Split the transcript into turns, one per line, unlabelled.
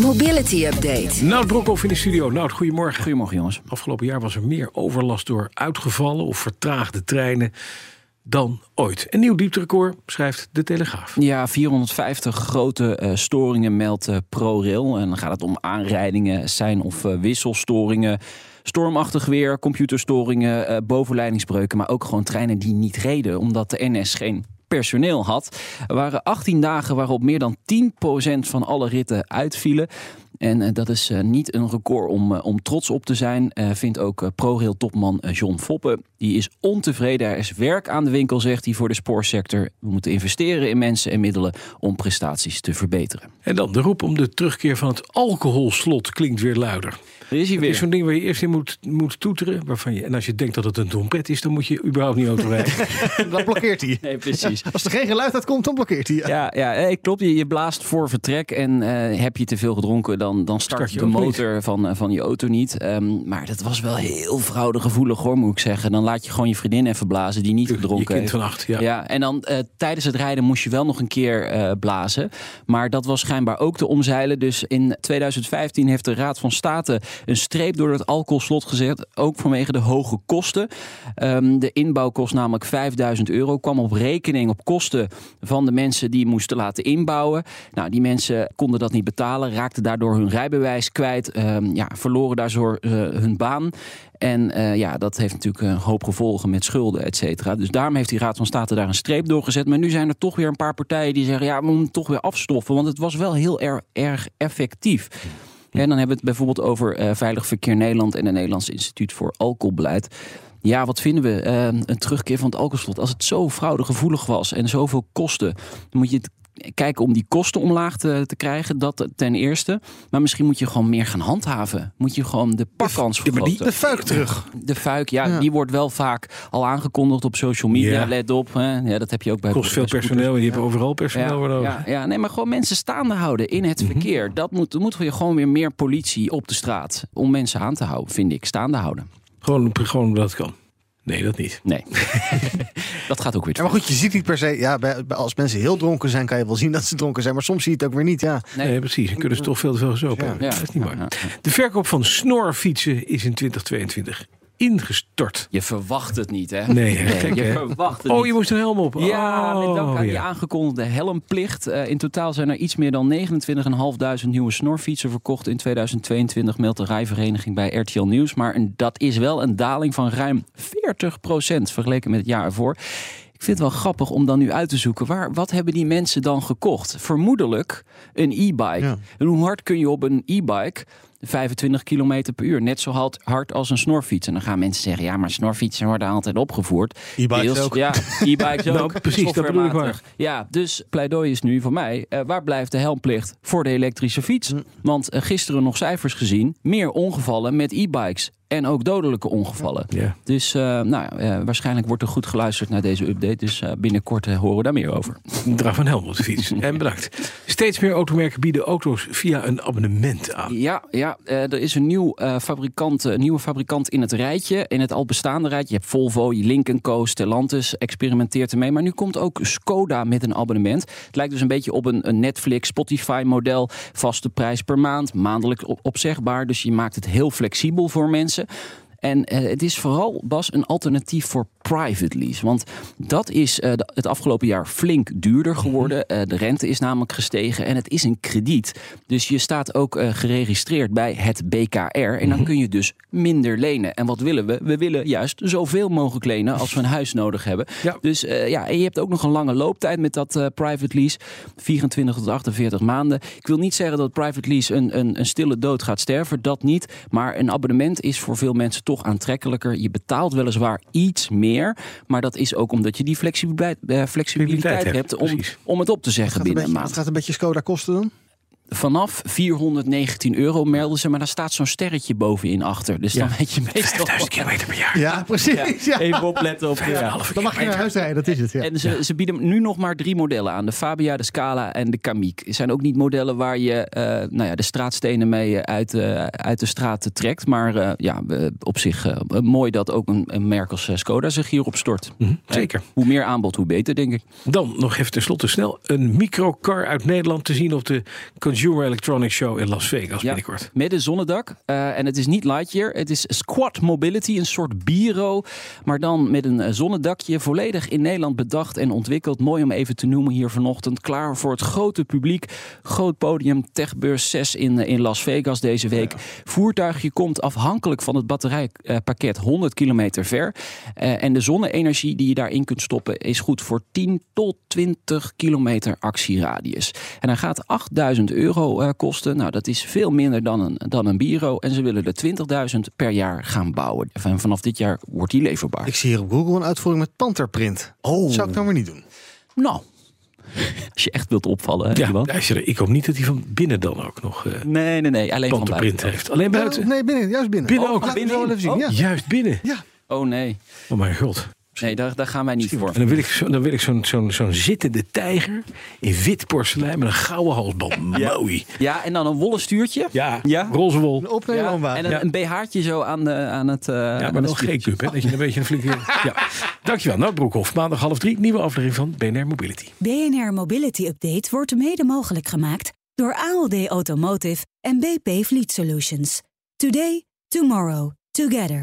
Mobility Update.
Nout Brokhoff in de studio. Nout, goedemorgen.
Goedemorgen jongens.
Afgelopen jaar was er meer overlast door uitgevallen of vertraagde treinen dan ooit. Een nieuw diepterecord, schrijft de Telegraaf.
Ja, 450 grote eh, storingen meldt eh, ProRail. En dan gaat het om aanrijdingen, zijn- of eh, wisselstoringen. Stormachtig weer, computerstoringen, eh, bovenleidingsbreuken. Maar ook gewoon treinen die niet reden, omdat de NS geen personeel had. Er waren 18 dagen waarop meer dan 10% van alle ritten uitvielen. En eh, dat is eh, niet een record om, eh, om trots op te zijn, eh, vindt ook eh, ProRail-topman eh, John Foppen. Die is ontevreden. Er is werk aan de winkel, zegt hij, voor de spoorsector. We moeten investeren in mensen en middelen om prestaties te verbeteren.
En dan de roep om de terugkeer van het alcoholslot klinkt weer luider.
Er is hij
Het is
weer.
zo'n ding waar je eerst in moet, moet toeteren. Waarvan je, en als je denkt dat het een trompet is, dan moet je überhaupt niet autorijden.
Dan blokkeert hij.
Nee, precies.
Als er geen geluid uit komt, dan blokkeert hij.
Ja, ja eh, klopt. Je, je blaast voor vertrek. En eh, heb je te veel gedronken, dan, dan start,
Start je
de
ook niet.
motor van, eh, van je auto niet. Ehm, maar dat was wel heel fraudegevoelig hoor, moet ik zeggen. Dan laat je gewoon je vriendin even blazen die niet
Je
gedronken
kind
heeft.
van acht, ja.
Ja, en dan eh, tijdens het rijden moest je wel nog een keer eh, blazen. Maar dat was schijnbaar ook te omzeilen. Dus in 2015 heeft de Raad van State een streep door het alcoholslot gezet. Ook vanwege de hoge kosten. Ehm, de inbouw kost namelijk 5000 euro. Kwam op rekening op kosten van de mensen die moesten laten inbouwen. Nou, die mensen konden dat niet betalen. Raakten daardoor hun rijbewijs kwijt. Ehm, ja, verloren daardoor eh, hun baan. En eh, ja, dat heeft natuurlijk een hoop gevolgen met schulden, et cetera. Dus daarom heeft die Raad van State daar een streep door gezet. Maar nu zijn er toch weer een paar partijen die zeggen... ja, we moeten toch weer afstoffen, want het was wel heel erg, erg effectief. En dan hebben we het bijvoorbeeld over eh, Veilig Verkeer Nederland... en het Nederlands Instituut voor Alcoholbeleid. Ja, wat vinden we? Eh, een terugkeer van het alcoholslot. Als het zo fraudegevoelig was en zoveel kosten... dan moet je het kijken om die kosten omlaag te, te krijgen. Dat ten eerste. Maar misschien moet je gewoon meer gaan handhaven. Moet je gewoon de pakkans
Ja, maar
vergroten.
die-
De fuik terug.
De fuik, ja, die wordt wel vaak al aangekondigd op social media.
Ja.
Let op, hè. Ja, dat heb je ook bij
Kost veel
bij scooters.
personeel en je hebt overal personeel voor
Ja,
nodig.
ja, ja, nee, maar gewoon mensen staande houden in het
Mhm.
verkeer. Dat moet, moet je gewoon weer meer politie op de straat om mensen aan te houden, vind ik. Staande houden.
Gewoon, gewoon dat kan. Nee, dat niet.
Nee, dat gaat ook weer. te
Ja, maar goed, je ziet niet per se. Ja, bij, bij- als mensen heel dronken zijn, kan je wel zien dat ze dronken zijn. Maar soms zie je het ook weer niet. Ja.
Nee.
Nee, precies. Dan kunnen ze toch veel te veel gezopen
Ja.
hebben.
Ja.
Dat is niet
Ja,
waar.
ja, ja.
De verkoop van snorfietsen is in 2022 ingestort.
Je verwacht het niet, hè?
Nee, hè? Gek,
je
hè?
verwacht het
Oh,
niet.
je moest een helm op.
Ja,
oh,
met dank aan die
ja.
aangekondigde helmplicht. Eh, in totaal zijn er iets meer dan 29.500 nieuwe snorfietsen verkocht in 2022, meldt de rijvereniging bij RTL Nieuws. Maar een- dat is wel een daling van ruim 40% vergeleken met het jaar ervoor. Ik vind het wel grappig om dan nu uit te zoeken, waar, wat hebben die mensen dan gekocht? Vermoedelijk een e-bike.
Ja.
En hoe hard kun je op een e-bike 25 km per uur? Net zo hard- hard als een snorfiets. En dan gaan mensen zeggen, ja, maar snorfietsen worden altijd opgevoerd.
E-bikes
Deels-
ook.
Ja, e-bikes ook.
Nou, precies, dat bedoel ik maar.
softwarematig. Ja, dus pleidooi is nu voor mij, eh, waar blijft de helmplicht voor de elektrische fiets?
Hm.
Want eh, gisteren nog cijfers gezien, meer ongevallen met e-bikes. En ook dodelijke ongevallen.
Ja.
Dus eh, nou, ja, eh, waarschijnlijk wordt er goed geluisterd naar deze update. Dus eh, binnenkort eh, horen we daar meer over.
Draag van helm op de fiets. en bedankt. Steeds meer automerken bieden auto's via een abonnement aan.
Ja, ja eh, er is een nieuw, eh, fabrikant, eh, nieuwe fabrikant in het rijtje. In het al bestaande rijtje. Je hebt Volvo, je Lincoln Co, Stellantis experimenteert ermee. Maar nu komt ook Skoda met een abonnement. Het lijkt dus een beetje op een, een Netflix, Spotify model. Vaste prijs per maand, maandelijk op- opzegbaar. Dus je maakt het heel flexibel voor mensen. En eh, het is vooral, Bas, een alternatief voor private lease. Want dat is eh, de- het afgelopen jaar flink duurder geworden. Eh, de rente is namelijk gestegen en het is een krediet. Dus je staat ook eh, geregistreerd bij het BKR. En dan kun je dus minder lenen. En wat willen we? We willen juist zoveel mogelijk lenen als we een huis nodig hebben.
Ja.
Dus eh, ja, en je hebt ook nog een lange looptijd met dat eh, private lease. 24 tot 48 maanden. Ik wil niet zeggen dat private lease een, een, een stille dood gaat sterven. Dat niet. Maar een abonnement is voor veel mensen toch aantrekkelijker. Je betaalt weliswaar iets meer. Maar dat is ook omdat je die flexibiliteit, eh, flexibiliteit
Flexibiliteit hebt,
hebt om,
precies.
om het op te
Het
zeggen
gaat, een
binnen
beetje,
een
het
maand.
gaat een beetje Skoda kosten dan.
Vanaf 419 euro melden ze, maar daar staat zo'n sterretje bovenin achter. Dus dan
Ja.
weet je meestal...
5000 kilometer per jaar.
Ja, precies. Ja.
Even opletten op... Ja.
Dan mag je naar huis rijden, dat is het. Ja.
En ze, ze bieden nu nog maar drie modellen aan. De Fabia, de Scala en de Kamiq. Het zijn ook niet modellen waar je eh, nou ja, de straatstenen mee eh, uit, eh, uit de straten trekt. Maar eh, ja, we- op zich eh, mooi dat ook een, een merk als eh, Skoda zich hierop stort.
Zeker.
Hoe meer aanbod, hoe beter, denk ik.
Dan nog even tenslotte snel een microcar uit Nederland te zien op de Consumer Electronics Show in Las Vegas binnenkort.
Met een zonnedak. Eh, en het is niet Lightyear. Het is Squad Mobility, een soort bureau. Maar dan met een eh, zonnedakje. Volledig in Nederland bedacht en ontwikkeld. Mooi om even te noemen hier vanochtend. Klaar voor het grote publiek. Groot podium, Techbeurs 6 in, eh, in Las Vegas deze week. Voertuigje komt afhankelijk van het batterijpakket 100 eh, kilometer ver. Eh, en de zonne-energie die je daarin kunt stoppen is goed voor 10 tot 20 kilometer actieradius. En hij gaat 8000 euro eh, kosten. Nou, dat is veel minder dan een, dan een bureau. En ze willen er 20.000 per jaar gaan bouwen. En vanaf dit jaar wordt die leverbaar.
Ik zie hier op Google een uitvoering met panterprint. Oh. Zou ik nou maar niet doen.
Nou, als je echt wilt opvallen, hè,
Ja,
Iwan?
luister, ik hoop niet dat hij van binnen dan ook nog eh
Nee, nee, nee. Alleen van
pantenprint
buiten.
heeft. Alleen buiten.
Ja, nee, binnen. Juist binnen.
Binnen ook.
Laat me
Binnen.
zo wel even zien.
Oh.
Ja.
Juist binnen.
ja.
Oh nee.
Oh mijn god.
Nee, daar, daar gaan wij niet voor.
En dan wil ik, zo, dan wil ik zo'n zo'n zo'n zittende tijger in wit porselein met een gouden halsband. Mooi.
Ja, en dan een wollen stuurtje.
Ja,
Ja.
roze wol.
Een opnemen
En een,
Ja.
een BH'tje zo aan, de, aan het... eh,
Ja,
aan
maar
het
wel
stuurtje.
G-cup, hè? Dat je een beetje een flinke... Ja. Dankjewel, Nout Broekhoff. Maandag half drie, nieuwe aflevering van BNR Mobility.
BNR Mobility Update wordt mede mogelijk gemaakt door ALD Automotive en BP Fleet Solutions. Today, tomorrow, together.